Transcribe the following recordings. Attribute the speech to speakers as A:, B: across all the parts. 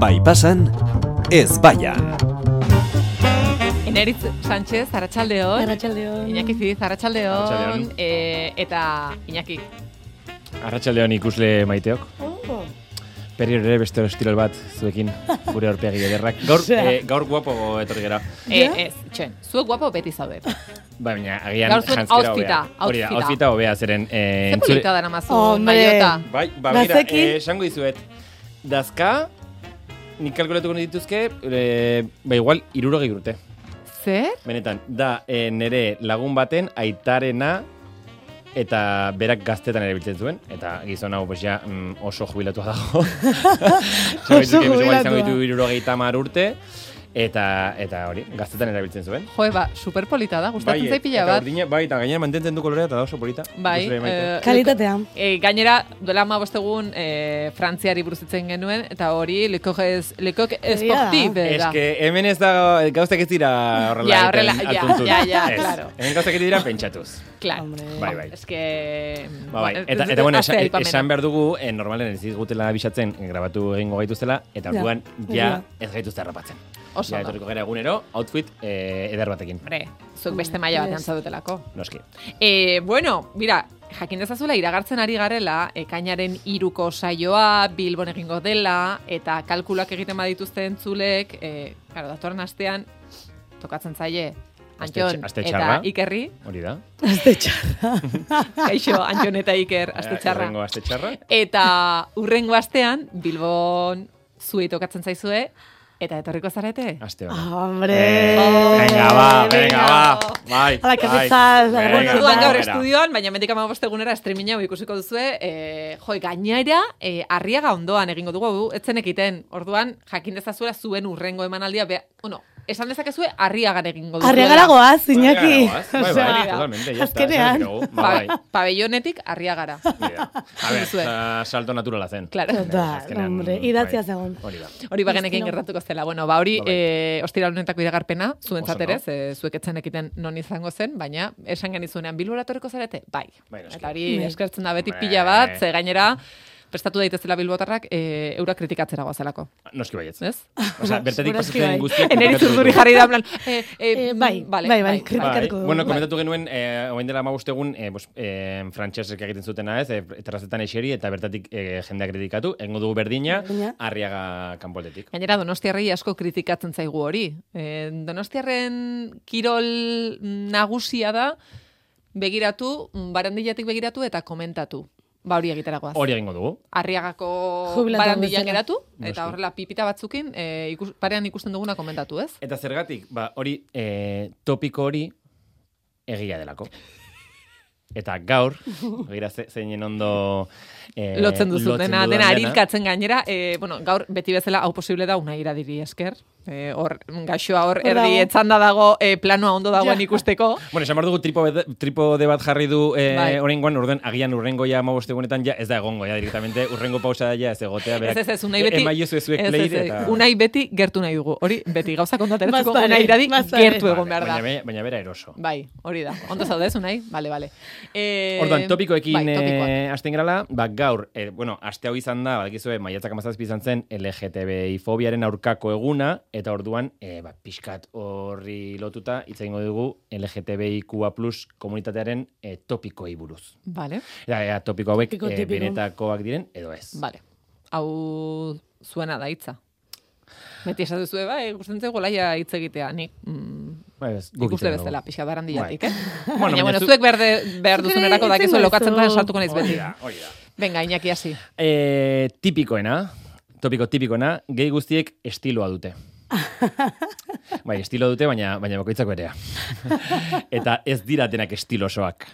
A: Bai pasan, ez baian.
B: Eneritz Sánchez, Arratxaldeon.
C: Arratxaldeon.
B: Iñaki Zidiz, Arratxaldeon.
D: Arratsaldeon.
B: E, eta Iñaki,
D: Arratxaldeon ikusle maiteok.
B: Oh,
D: Perri ere beste estilo bat zuekin, gure aurpegi ederrak. Gaur, eh, gaur guapo etorri gara.
B: e, ez, txen, zuek guapo beti zaudet.
D: Ba, baina, agian
B: Gaur zuen
D: jantzkera
B: outfita,
D: hobea. Hori da,
B: outfita.
D: outfita hobea zeren... Eh,
B: Ze polita dara mazu,
C: Hombre.
B: maiota.
D: Bai, ba, mira,
C: Bazekin.
D: eh, esango dizuet. Dazka, nik kalkulatuko dituzke, eh, ba, igual, irurogei urte.
B: Zer?
D: Benetan, da, eh, nere lagun baten aitarena eta berak gaztetan ere biltzen zuen, eta gizon hau pues, ja, mm, oso jubilatua dago. oso
C: jubilatua.
D: Izango ditu irurogeita hamar urte, eta, eta hori, gaztetan erabiltzen zuen.
B: Jo, ba, superpolita da, gustatzen zai pila
D: Bai, eta
B: bat.
D: urdina, bai, eta gainera mantentzen du kolorea eta da oso polita.
B: Bai,
D: Ikusle maite.
B: eh,
C: Kalitatea.
B: E, gainera, duela ma bostegun e, Frantziari buruzitzen genuen, eta hori lekok ez, lekok esportibe
D: Ez
B: eh, da.
D: que hemen ez da gauzak ez dira horrela.
B: Ja,
D: egiten
B: horrela, ja,
D: altuntun.
B: ja, ja,
D: Ez,
B: claro.
D: Hemen gauzak ez dira pentsatuz.
B: Klar.
C: Hombre.
D: Bai, bai.
B: Ez que...
D: Ba, bai.
B: mm, ez
D: Eta,
B: dut
D: eta bueno,
B: aste
D: esan,
B: aipamena.
D: esan behar dugu, eh, normalen ez ditgutela bisatzen, eh, grabatu egingo gaituztela, eta
C: Ja,
D: orduan ja,
C: egia.
D: ez gaituzte harrapatzen.
B: Oso
D: ja,
B: ondo.
D: etorriko gara egunero, outfit eh, eder batekin.
B: Hombre, zuek beste maila
C: Yes.
B: batean zaudetelako.
D: Noski.
B: E, bueno, mira, jakin dezazula iragartzen ari garela, ekainaren iruko saioa, Bilbon egingo dela, eta kalkulak egiten badituzte entzulek, e, claro, datorren astean, tokatzen zaie,
D: Aste
B: Antion
D: tx- aste
B: eta
D: txarra.
B: Ikerri,
D: Hori da.
C: Azte txarra.
B: kaixo, Antion eta Iker, aste txarra.
D: Horrengo Eh, aste txarra.
B: Eta urrengo astean, Bilbon zuei tokatzen zaizue, eta etorriko zarete?
D: Aste hori.
C: Hombre.
D: Eh, Venga, ba, venga, ba.
B: venga.
D: Bai,
C: Ala, que
D: bai.
C: bezal,
D: Venga,
B: Orduan gaur
D: aurrera.
B: estudioan, baina mendik ama bostegunera streaming hau ikusiko duzue, e, joi, gainera, e, arriaga ondoan egingo dugu, etzen ekiten, orduan, jakin dezazuela zuen urrengo emanaldia, be, bueno, esan dezakezue, arriagan egingo dugu.
C: Arriagara goaz, Iñaki.
D: Bai, bai,
C: O
D: bai,
C: sea,
D: totalmente, ya está,
C: azkenean.
D: esan dugu. Ba,
B: Pa,
D: bai.
B: pabellonetik arriagara.
D: Hori da. A ver,
B: Duzue.
D: sa- salto naturala zen.
B: Claro.
C: Total,
D: uh, Azkenean,
C: hombre,
D: bai.
C: idatzia zegoen.
D: Hori da.
B: Hori bagenekin
C: Estilo.
B: gertatuko zela. Bueno, ba hori,
D: Ba, bai.
B: e, ostiral honetako iragarpena, zuen
D: Oso
B: zaterez,
D: ondo.
B: e, zuek etzen ekiten non izango zen, baina esan genizunean bilbora etorriko zarete, bai.
D: Bai, noski.
B: Eta hori
C: Bai.
B: eskertzen da beti
D: Bai.
B: pila bat, ze gainera, prestatu daitezela bilbotarrak, e, eura kritikatzera goazelako,
D: Noski baietz.
B: ez?
D: Osea, bertatik
C: Segurazki
D: pasatzen
C: bai.
D: guztiak.
B: Eneri
D: kritikatu
B: zurduri
D: ditugu.
B: jarri da, en plan, e, e,
C: Eh, bai,
B: vale,
C: bai, bai,
B: bai.
D: Bai,
C: kritikatuko. dugu.
D: bueno,
C: Bai.
D: komentatu genuen, eh, oain dela amabostegun, eh, pues, eh, frantxesek egiten zutena ez, eh, terrazetan eseri eta bertatik eh, jendea kritikatu, egingo dugu berdina,
C: Berdina.
D: arriaga kanpoldetik.
B: Gainera, donostiarrei asko kritikatzen zaigu hori. E, donostiarren kirol nagusia da, begiratu, barandilatik begiratu eta komentatu. Ba hori egiteragoaz.
D: Hori egingo dugu.
B: arriagako
C: Jubilatu
B: barandilan
C: bezala.
B: geratu,
D: Noski.
B: eta horrela pipita batzukin, e, ikus, parean ikusten duguna komentatu, ez?
D: Eta zergatik, ba, hori eh, topiko hori egia delako. Eta gaur, gira ze, zeinen ondo... Eh,
B: lotzen duzu, dena,
D: dudan
B: dena arilkatzen gainera, e, bueno, gaur beti bezala hau posible da una iradiri esker, e, hor, gaixoa hor,
C: Hor
B: erdi
C: dago.
B: etzanda dago, e, planoa ondo dagoen
C: Ja.
B: ikusteko,
D: Bueno, esan behar dugu tripo, tripo de bat jarri du eh,
B: Bai.
D: oraingoan, orduan agian urrengo ja amabostegunetan ja ez da egongo, ja, direktamente urrengo pausa da ja ez egotea.
B: ez
D: berak-
B: ez ez, unai beti,
D: Emaiozu ezuek
B: ez, ez,
D: pleire
B: ez,
D: eta...
B: unai beti gertu nahi dugu, hori, beti gauza kontateratzeko
C: Baztare,
B: unai iradi
C: baztare.
B: gertu egon behar da.
D: Baina, baina, baina bera eroso.
B: Bai, hori da. Ondo zaudez, unai? Bale, bale. E,
D: Orduan, topikoekin
B: bai, topikoak.
D: eh, hasten grala, ba, gaur, eh, bueno, aste hau izan da, badakizue, maiatzak amazazpi izan zen, LGTBI fobiaren aurkako eguna, eta orduan, eh, ba, pixkat horri lotuta, hitz egingo dugu LGTBIQA plus komunitatearen eh, topikoei buruz.
B: Vale,
D: Eta ea topiko hauek
C: Topiko
D: eh,
C: tipiko.
D: benetakoak diren, edo ez.
B: Vale. Hau zuena da hitza. Beti esatu zue, bai, gustatzen zaigu laia hitz egitea, nik mm,
D: Ba, ez, guk
B: ikuste
D: egiten dugu.
B: bezala, pixka barandilatik,
D: Bai.
B: eh? bueno,
D: Bueno,
B: baina,
D: baina
B: bueno,
D: zu-
B: zuek behar, de, behar
C: Zuk ere
B: duzunerako
C: hitz
B: dakizu
C: egin
B: lokatzen
C: duzu.
B: tan sartuko naiz
D: Hori
B: beti.
D: da, hori da.
B: Venga, Iñaki hasi.
D: E, tipikoena, topiko tipikoena, gehi guztiek estiloa dute. bai, estilo dute, baina, baina bakoitzak berea. Eta ez dira denak estilosoak.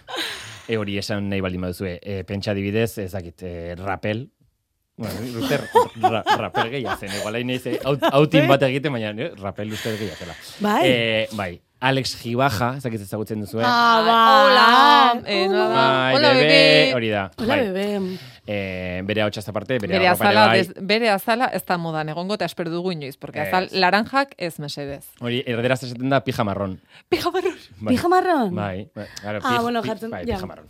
D: E hori esan nahi baldin baduzue. E, pentsa dibidez, ezakit, e, rapel. Bueno, uste ra, rapel gehiago zen. Igual hain naiz, eh, haut- hautin bat egiten, baina eh, rapel uste gehiago zela.
C: Bai.
D: E, bai, Alex Gibaja, ezakit ezagutzen duzue.
C: Ah, ba.
B: Bai, Hola, eh, nola da?
D: Bai,
B: hola,
D: bebe,
B: bebe.
D: hori da.
C: Hola,
D: bai.
C: bebe.
D: Eh, bere hau aparte, bere,
B: Bere
D: arropan ere
B: azala,
D: bai.
B: des, bere azala ez da modan egongo eta esper dugu inoiz, porque azal
D: Ez.
B: laranjak ez mesedez.
D: Hori, erderaz esaten da pija marron.
B: Pija barrur.
D: Bai.
C: Pija marron?
D: Bai. bai, Claro,
C: Ah, bueno, jartzen-
D: bai,
C: ja.
D: pija marron.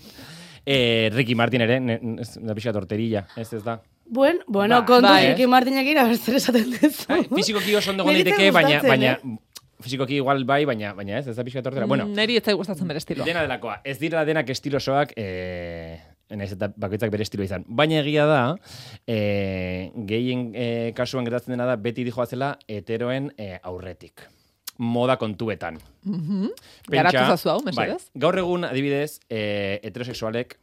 D: E, Ricky Martin ere, ne, ne- ez da pixka torterilla, ez ez da.
C: Buen, bueno,
D: Ba,
C: kontu
B: bai.
C: Ricky Martinek ira, berzer esaten duzu.
D: Fizikoki oso ondo egon
C: Niri
D: daiteke,
C: zait
D: baina,
C: gustatzen,
D: baina,
C: eh? Mm,
D: fizikoki igual bai, baina, baina ez, ez da pixka tortera. Bueno,
B: Neri ez zait gustatzen bere estiloa.
D: dena delakoa. Ez dira denak estilosoak, eh, naiz eta bakoitzak bere estiloa izan. Baina egia da, eh, gehien eh, kasuan gertatzen dena da, beti dijoazela heteroen eh, aurretik. Moda kontuetan. Pentsa-
B: Mhm. Garatu zazu hau, mesedez?
D: Bai, gaur egun, adibidez, eh, heterosexualek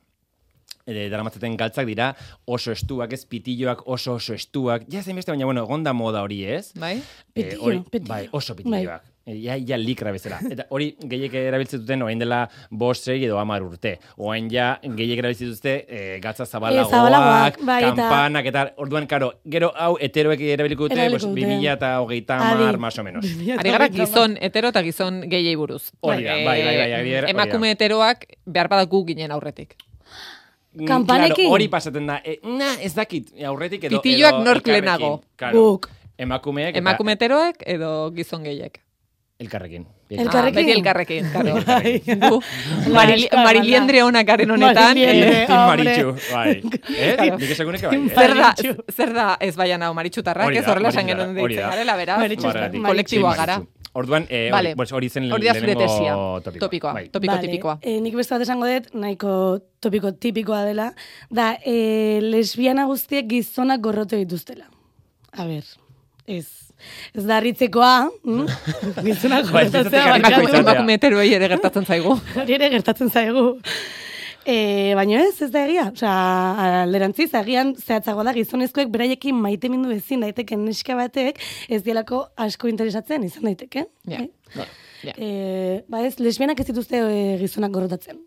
D: e, daramatzaten galtzak dira oso estuak, ez pitilloak, oso oso estuak. Ja zein beste, baina, bueno, egon da moda hori, ez?
B: Bai?
D: Eh,
C: Pitillo,
D: hori-
C: pitillo.
D: Bai, oso pitilloak. Eh, Ja, ja likra bezala. Eta hori gehiek erabiltzen duten orain dela bost sei edo hamar urte. Orain ja gehiek erabiltzen dute eh, galtza zabalagoak,
C: zabalagoak, bai, eta-
D: kanpanak, eta... orduan, karo, gero hau heteroek erabiliko dute,
C: Erabiliko
D: pues,
C: dute.
D: 2000 eta hogeita
C: Adi.
D: hamar, más o menos.
B: Ari gara gizon hetero eta gizon gehiei buruz. Eh,
D: Hori da, bai, bai, bai, ari gara, hori da.
B: Emakume heteroak behar badaku ginen aurretik.
D: Mm,
C: Kanpanekin?
D: Claro, hori pasaten da. E, na, ez dakit, aurretik edo...
B: Pitilloak
D: edo
B: nork
D: elkarrekin.
B: lehenago?
D: Claro,
C: Guk.
D: Emakumeek eta
B: Emakume heteroak edo gizon gehiek.
D: elkarrekin.
C: Elkarrekin?
B: Ah, beti elkarrekin, karo.
C: Bai.
B: Gu, Marili-
C: Bai.
B: Mariliendre honak garen honetan.
D: Ah,
B: eh,
C: Mariliendre.
D: eh, Tim
C: hombre.
D: Maritxu, bai. Eh, dit, nik esakunek bai.
C: Tim
D: Eh?
B: Zer da,
C: Maritxu.
B: zer da ez baian hau maritxutarrak,
D: Hori da,
B: ez horrela esan
D: maritxutarrak,
B: genuen
D: hori
B: deitzen
D: da.
B: garela, beraz,
C: Maritxu-
D: Horregatik.
B: kolektiboa
D: Tim
B: gara.
D: Maritxu. Orduan, eh,
B: Vale.
D: hori, pues, hori zen
B: Hori da zure
D: lehenengo
B: tesia.
D: topikoa.
B: Topikoa,
D: Bai.
B: topikoa tipikoa.
C: E, nik beste bat esango dut, nahiko topiko tipikoa dela, da e, lesbiana guztiek gizonak gorrote dituztela. A ber, ez. Ez da harritzekoa, mm? gizonak
D: Bai, ez
C: gorrotatzea
D: ditzatek
B: Emakume-
D: Maritxu-
C: bakatu.
B: Emakume heteroei ere gertatzen zaigu.
C: Hori ere gertatzen zaigu. E, baina ez, ez da egia. Osea, alderantziz, agian zehatzagoa da gizonezkoek beraiekin maitemindu ezin daiteken neska batek ez dielako asko interesatzen izan daiteke.
B: Ja,
C: Bai?
B: ja, ja.
C: E, ba ez, lesbianak ez dituzte e, gizonak gorrotatzen.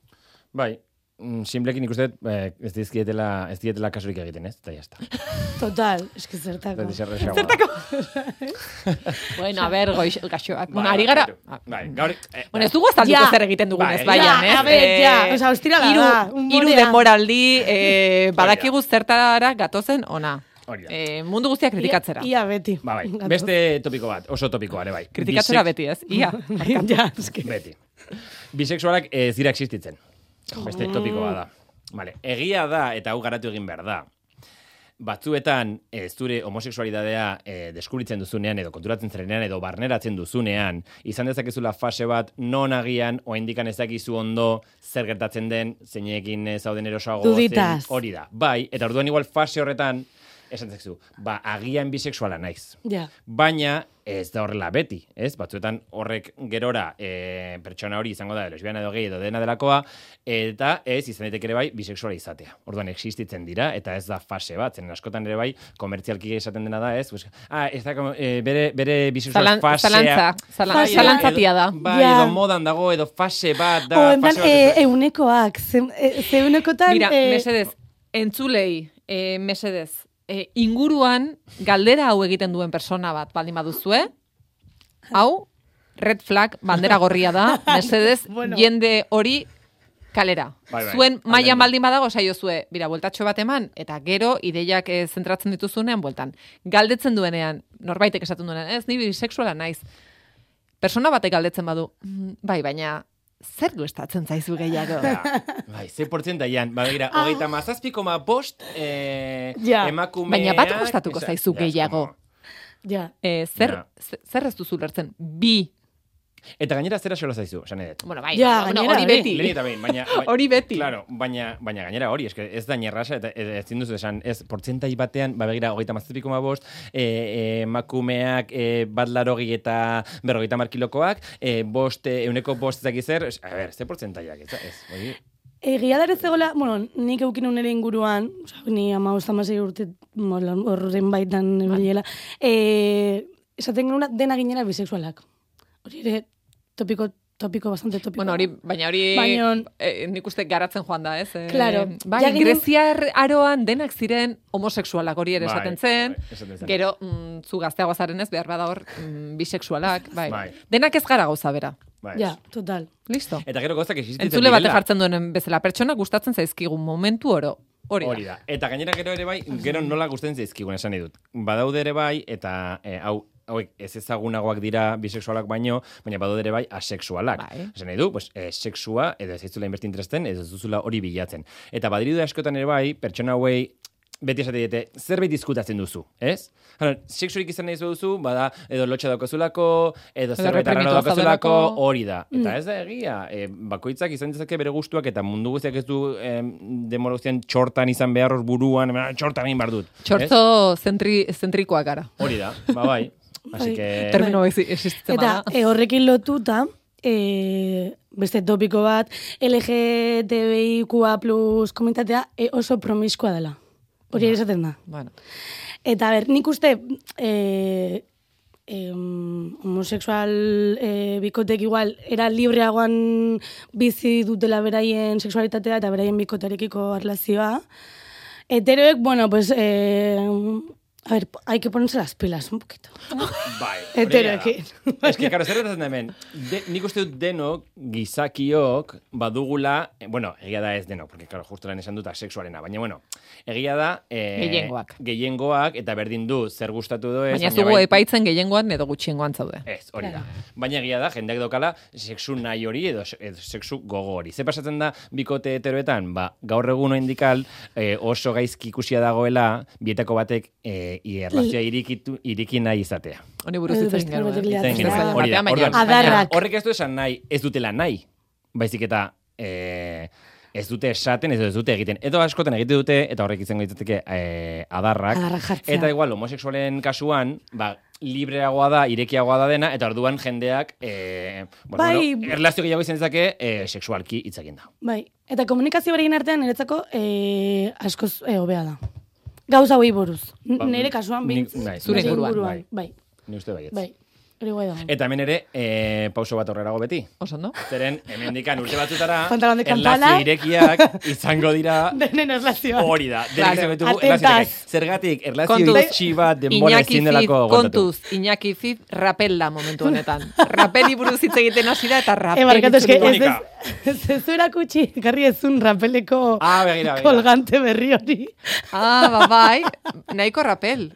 D: Bai. Mm, Simplekin ikusten, eh, ez dizkietela, ez dietela kasurik egiten, ez? Eta jazta.
C: Total, eski
D: Eta Bai,
C: zertako.
D: deserrexagoa.
B: Bueno, a ber, goix, gaxoak.
D: Bai,
B: Bueno, ari gara... Ah,
D: bai, Bai, gaur... eh,
B: Bueno, ez dugu azalduko
C: Ja.
B: zer egiten dugun ez
D: Bai.
B: baian,
C: Ja,
B: ez?
C: a ber,
B: Eh,
C: ja, osea, ostirala
B: hiru-
C: da, umorea.
B: hiru denboraldi, eh, badakigu zertara gatozen ona.
D: Hori da.
B: Eh, mundu guztia kritikatzera.
C: Ia, ia beti.
D: Ba, bai.
C: Gatoz.
D: Beste topiko bat, oso topikoa ere bai.
B: Kritikatzera
D: Bisek-
B: beti, ez? Ia.
C: ja, eski.
D: Beti. Bisexualak ez dira existitzen. Beste topikoa da. Vale. Egia da eta hau garatu egin behar da. Batzuetan e, zure homosexualidadea e, deskubritzen duzunean edo konturatzen zarenean edo barneratzen duzunean, izan dezakezula fase bat non agian oraindikan ez dakizu ondo zer gertatzen den, zeinekin eh, zauden erosoago zein-
C: Duditas.
D: hori da. Bai, eta orduan igual fase horretan esan dezakezu, ba agian bisexuala naiz.
C: Ja.
D: Baina ez da horrela beti, ez? Batzuetan horrek gerora e, pertsona hori izango da lesbiana edo gehi edo dena delakoa eta ez izan daiteke ere bai bisexuala izatea. Orduan existitzen dira eta ez da fase bat, zen askotan ere bai komertzialki esaten dena da, ez? Pues, ah, ez da como, eh, bere bere bisexual
B: Zalan-
D: fasea.
B: zalantza, zala-
D: Bai, edo-
B: zalantzatia da.
D: Bai,
C: Ja.
D: edo modan dago edo fase bat da,
C: o, endan,
D: fase bat.
C: e,
D: ez da.
C: eunekoak, ze, e, ze eunekotan...
B: Mira,
C: e,
B: mesedez, entzulei, eh, mesedez, eh, inguruan galdera hau egiten duen persona bat baldin baduzue, hau red flag bandera gorria da, mesedez,
C: Bueno.
B: jende hori kalera.
D: Bai, bai,
B: Zuen mailan
D: aldendu.
B: baldin badago saiozue, bira, bueltatxo bat eman, eta gero ideiak eh, zentratzen dituzunean bueltan. Galdetzen duenean, norbaitek esaten duenean, ez, ni bisexuala naiz. Persona batek galdetzen badu, "Mm, bai, baina zer gustatzen zaizu gehiago?
D: Da. Bai, ze portzentaian, ba, begira,
B: Ah.
D: hogeita mazazpikoma bost eh,
C: Ja.
D: emakumeak...
B: Baina bat gustatuko
D: Esa-
B: zaizu
D: Ja, es
B: gehiago.
D: como-
C: Ja.
B: E, zer,
D: Ja.
B: ze- zer ez duzu lertzen? Bi.
D: Eta gainera zera xola zaizu, esan edet.
B: Bueno, bai,
C: Ja,
B: bueno,
C: gainera,
B: hori
C: bai.
B: beti.
D: Lehenik eta behin, baina... bai-
B: Hori beti.
D: Claro, baina, baina gainera hori, eske ez da nierrasa, eta e- ezin duzu esan, ez, portzentai batean, ba begira, hogeita mazazpikoma bost, e, e, makumeak, e, bat larogi eta berrogeita markilokoak, e, bost, e, euneko bost ezak izer, es, a ber, ze portzentaiak, ez, da- ez, hori...
C: Egia da ere zegoela, bueno, nik eukin unere inguruan, oza, ni ama amasei urte mola, horren baitan
B: Bai.
C: bilela, e, esaten genuna dena ginera bisexualak. Hori ere topiko, topiko, bastante topiko.
B: Bueno, hori, baina hori
C: Baina-
B: eh, nik uste garatzen joan da, ez? Eh,
C: Claro.
B: Bai,
C: Ja ginen-
B: Greziar aroan denak ziren homosexualak hori ere
D: Bai,
B: esaten zen.
D: bai, esaten zen.
B: Gero, mm, zu gazteagoa zaren ez, behar bada hor, mm, bisexualak. Bai.
D: Bai.
B: Denak ez gara gauza bera.
D: Bai, ez.
C: Ja, total.
B: Listo.
D: Eta gero gozak existitzen
B: Entzule bate
D: direla.
B: jartzen duen bezala. Pertsona gustatzen zaizkigu momentu oro. Hori da.
D: Hori da. Eta gainera gero ere bai, gero nola gustatzen zaizkigun esan nahi dut. Badaude ere bai eta e, hau hauek ez ezagunagoak dira bisexualak baino, baina badu ere bai asexualak.
B: Bai.
D: Esan nahi du, pues, eh, sexua, edo ez zaizula inbeste interesten, edo ez duzula hori bilatzen. Eta badiridu askotan ere bai, pertsona hauei beti esate diete, zerbait diskutatzen duzu, ez? Hala, sexurik izan nahi ez baduzu, bada, edo lotxa daukazulako, edo zerbait arraro
B: reprimitua
D: daukazulako,
B: zaudelako.
D: hori da. Eta ez da egia, e, bakoitzak izan dezake bere gustuak, eta mundu guztiak ez du em, denbora guztian txortan izan behar hor buruan, em, ah, txortan egin behar dut.
B: Txortzo zentri, zentrikoak gara.
D: Ez? Hori da, ba bai. Así
C: Bai.
D: que...
B: Termino ez existitzen
C: Eta
B: bada.
C: e, horrekin lotuta, e, beste topiko bat, LGTBIQA plus komitatea e, oso promiskua dela. Hori ere esaten da.
B: Bueno,
C: Eta ber, nik uste e, em, homosexual e, bikotek igual era libreagoan bizi dutela beraien sexualitatea eta beraien bikotarekiko erlazioa. Heteroek, bueno, pues... E, a ver, hay que ponerse las pilas un poquito.
D: Bai,
C: Heteroekin.
D: Ez que, karo, zer gertatzen da hemen? De, nik uste dut denok, gizakiok, badugula, eh, bueno, egia da ez denok, porque, karo, justu lan esan dut asexuarena, baina, bueno, egia da... Eh,
B: Gehiengoak.
D: Gehiengoak, eta berdin du, zer gustatu du ez...
B: baina ez dugu
D: bai-
B: epaitzen gehiengoan edo gutxiengoan zaude.
D: Ez, hori da. Baina egia da, jendeak daukala sexu nahi hori edo, edo sexu gogo hori. Ze pasatzen da bikote heteroetan? Ba, gaur egun oindikal eh, oso gaizki ikusia dagoela bietako batek eh, irrelazioa irikitu, iriki nahi izatea.
B: Honi buruz
C: Ez,
B: hitz egin genuen.
C: beste
B: eh,
C: batek
B: Hitz
D: Hitz egin
B: egin
C: liatzen
D: genuen.
B: genuen
D: Hori da,
B: batean, baina-
D: orduan,
C: Adarrak.
D: baina Horrek ez du esan nahi, ez dutela nahi. Baizik eta eh, ez dute esaten, ez dute egiten. Edo askotan egite dute, eta horrek izango ditateke eh, adarrak.
C: Adarrak jartzea.
D: Eta igual, homosexualen kasuan, ba, libreagoa da, irekiagoa da dena, eta orduan jendeak, eh, bueno,
C: Bai.
D: bueno, erlazio gehiago izan dezake, eh, sexualki hitz egin da.
C: Bai, eta komunikazio beraien artean niretzako eh, askoz eh, hobea da. Gauza hoi buruz. N-
D: Ba,
C: Nire kasuan
D: nik-
C: bintz.
D: bai,
B: Zure
C: nire
B: inguruan,
C: Bai,
D: Ni uste baiet.
C: bai. Hori guai dago.
D: Eta hemen ere, eh, pauso bat horrerago beti.
B: Oso, no?
D: Zeren, hemen dikan urte batzutara,
C: Pantalón de
D: erlazio
C: campana.
D: irekiak izango dira
C: Denen erlazioa.
D: Hori da, denek
B: Claro.
D: izango ditugu
C: Atentas.
D: erlazioak. Zergatik, erlazio
B: Kontuz.
D: itxi bat denbora ezin
B: Fid,
D: delako kontatu.
B: kontuz, Iñaki Fid, rapel da momentu honetan. Rapeli buruz hitz egiten hasi da eta rapel.
C: E, barkatu, eske, ez ez,
D: Monika.
C: ez ez erakutsi, garri ezun rapeleko
D: Ah, begira, begira.
C: kolgante berri hori.
B: Ah, ba, bai, nahiko rapel.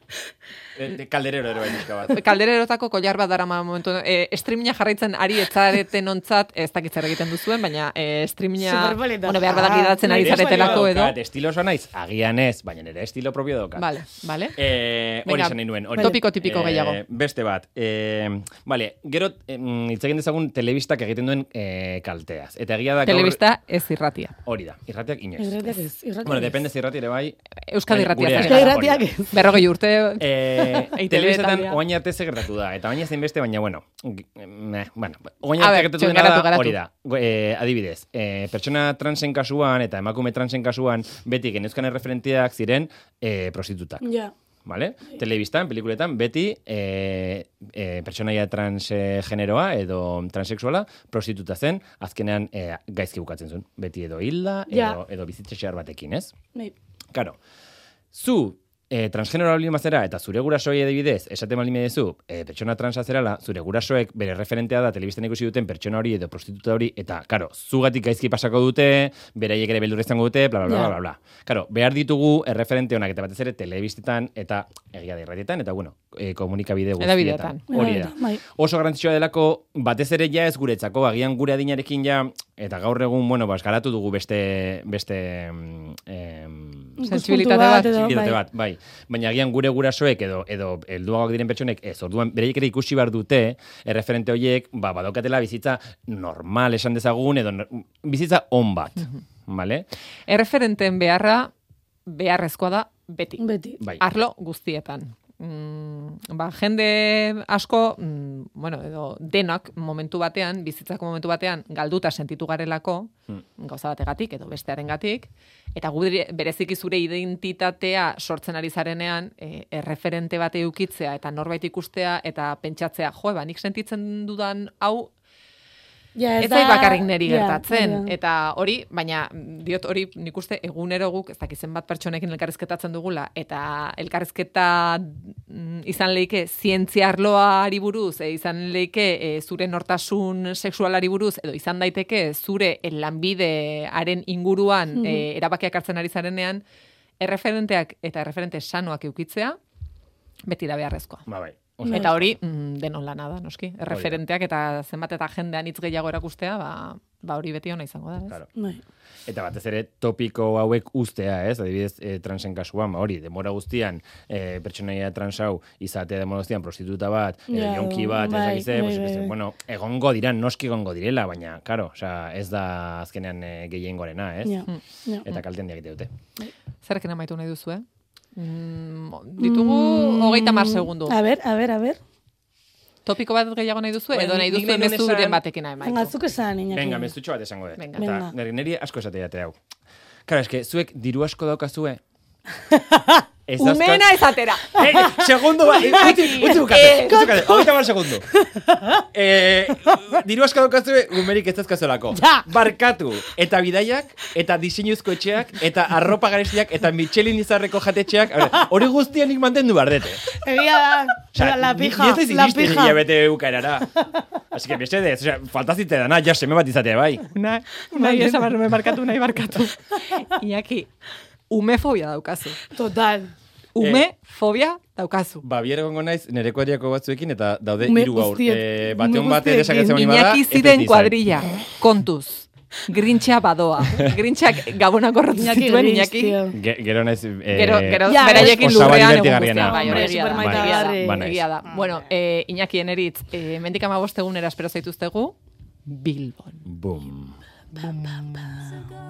D: Eh, de Kalderero ere bai pixka bat.
B: Kaldererotako kollar bat darama momentu. E, streamina jarraitzen ari etzareten ontzat, ez dakit zer egiten duzuen, baina e, streamina,
C: Superpoleta.
B: bueno, behar badak
C: Ah,
B: idatzen ari
C: nire
B: zaretelako edo.
D: Daukat, Estilo oso naiz, agian ez, baina nire estilo propio daukat.
B: Vale, vale.
D: Eh, hori
B: Venga,
D: esan nahi nuen. Hori.
B: topiko tipiko
D: Eh,
B: gehiago.
D: Beste bat. Eh, vale, gero em, hitz egin dezagun telebistak egiten duen eh, kalteaz. Eta egia da gaur-
B: Telebista ez irratia.
D: Hori da, irratiak inoiz.
C: Irratiak ez, irratiak
D: Bueno,
C: ez.
D: depende ze irrati ere bai.
B: Euskadi
D: Baina
B: irratia
D: gurea
B: zen.
D: da, hori da.
C: Irratiak ez.
B: Berrogei urte,
D: Eh,
B: EITB
D: Telebistetan
B: taldea.
D: oain arte ze gertatu da, eta baina zein beste, baina bueno, g- eh, bueno, oain
B: A
D: arte
B: ber,
D: gertatu
B: txon,
D: dena
B: garatu,
D: da,
B: garatu.
D: hori da. Go- Eh, adibidez, eh, pertsona transen kasuan eta emakume transen kasuan beti genezkan erreferenteak ziren eh, prostitutak.
C: Ja.
D: Vale? Telebistan, pelikuletan, beti eh, eh, pertsonaia transgeneroa edo transexuala prostituta zen, azkenean eh, gaizki bukatzen zuen. Beti edo hilda,
C: Ja.
D: edo, edo bizitza xehar batekin, ez?
C: Bai.
D: Karo, zu e, transgenero baldin bazera eta zure gurasoei adibidez, esaten baldin baduzu, e, pertsona transa zerala, zure gurasoek bere referentea da telebistan ikusi duten pertsona hori edo prostituta hori eta karo, zugatik gaizki pasako dute, beraiek ere beldurra izango dute, bla bla bla
C: Ja.
D: bla bla. Karo, behar ditugu erreferente honak eta batez ere telebistetan eta egia da irratietan eta bueno, e, komunikabide
B: Hedabideetan.
D: guztietan. Hori da.
C: Bai.
D: Oso garrantzitsua delako batez ere ja ez guretzako, agian gure adinarekin ja eta gaur egun bueno, ba eskalatu dugu beste beste mm, em,
B: Sentsibilitate
C: Ikuspuntu
B: bat,
C: edo,
D: Sentsibilitate
C: bai.
D: bat, bai. Baina agian gure gurasoek edo edo helduagoak diren pertsonek ez. Orduan beraiek ere ikusi behar dute erreferente horiek, ba badaukatela bizitza normal esan dezagun edo nor- bizitza on bat.
C: Mhm.
D: Vale?
B: erreferenten beharra, beharrezkoa da beti.
C: Beti.
D: Bai.
B: Arlo guztietan. Mm, ba, jende asko, mm, bueno, edo denak momentu batean, bizitzako momentu batean, galduta sentitu garelako,
D: Hmm.
B: gauza bategatik edo bestearengatik, eta gure bereziki zure identitatea sortzen ari zarenean, e, erreferente bate eukitzea eta norbait ikustea eta pentsatzea, jo, ba, nik sentitzen dudan hau
C: Ja,
B: Ez zait bakarrik neri
C: ja,
B: gertatzen.
C: ja.
B: Eta hori, baina mm, diot hori nik uste egunero guk, ez dakizen bat pertsonekin elkarrezketatzen dugula, eta elkarrezketa mm, izan leike zientzia arloari buruz, e, izan leike e, zure nortasun sexualari buruz, edo izan daiteke zure lanbidearen inguruan
C: Mhm.
B: e, erabakiak hartzen ari zarenean, erreferenteak eta erreferente sanoak eukitzea, beti da beharrezkoa.
D: Ba bai. Oso.
B: Eta hori, mm, denon lana da, noski. Erreferenteak eta zenbat eta jendean hitz gehiago erakustea, ba, ba hori beti ona izango da, ez?
D: Claro.
C: Bai.
D: Eta batez ere topiko hauek uztea, ez? Adibidez, e, transen kasuan, ba, hori, demora guztian, e, pertsonaia trans hau izatea demora guztian prostituta bat, e,
C: Ja,
D: jonki bat, ez
C: bai,
D: dakiz ze,
C: bai,
D: pues,
C: bai,
D: ez-
C: bai.
D: bueno, egongo dira, noski egongo direla, baina, karo, osea, ez da azkenean e, gehiengorena, ez?
C: Ja,
B: Hmm,
C: ja.
D: Eta kaltean diak dute.
B: Zerrekin amaitu nahi duzu, eh? Mm, ditugu hogeita mar segundu.
C: A ber, a ber, a ber.
B: Topiko bat gehiago nahi duzu,
D: Bueno,
B: edo nahi
D: nik-
B: duzu
D: nik nahi nuen
B: mezuren
D: esan-
B: batekin
C: Venga,
B: amaitu.
C: zuk esan, Iñaki.
D: Venga, mezutxo bat esango dut.
B: Venga.
D: Eta
C: Venga.
D: niri- niri asko esate date hau. Kara, eske, zuek diru asko daukazue. Ez dauzka-
B: Umena ez atera.
D: Eh, eh, segundo, ba, eh, utzi, utzi bukate, utzi bukate, hogeita hamar segundo. Eh, diru asko daukazue, gumerik ez dazkazuelako.
C: Ja.
D: Barkatu, eta bidaiak, eta diseinuzko etxeak, eta arropa garestiak, eta Michelin izarreko jatetxeak, a ber, hori guztien nik mantendu behar dute.
C: Egia da.
D: Osea,
C: la
D: ni-
C: pija,
D: ni ez daiz
C: la
D: iristen
C: pija.
D: hilabete bukaerara. Así que, mesedez, osea, falta zitzaidana, ja seme bat izatea, bai.
B: Una, nahi esabar, barkatu, nahi barkatu. Iñaki, umefobia daukazu.
C: Eh. Total.
B: Umefobia daukazu.
D: Ba, bihar egongo naiz nire kuadriako batzuekin eta daude
C: Ume
D: hiru gaur.
C: guztiek, ume
D: Eh, bateon bate
C: guztiekin.
D: desakatzen bali bada.
B: Iñaki
D: ez dut
B: ziren
D: izan.
B: kuadrilla, kontuz. Grintxa badoa. Grintxak gabonak horretu
C: Iñaki
B: zituen
C: gris,
B: Iñaki.
C: tío.
D: Ge- gero naiz... Eh,
B: Gero, gero,
C: Ja,
B: beraiekin
D: oso
B: lurrean egun
D: dibertigarriena.
B: guztian. Bai, hori
C: Bai,
B: egia da.
C: super maitagarri.
B: egia da,
D: Ba,
B: Bai, Egia da. Bueno, eh, Iñaki eneritz, eh, mendik amabost egunera espero zaituztegu, Bilbon.
D: Boom.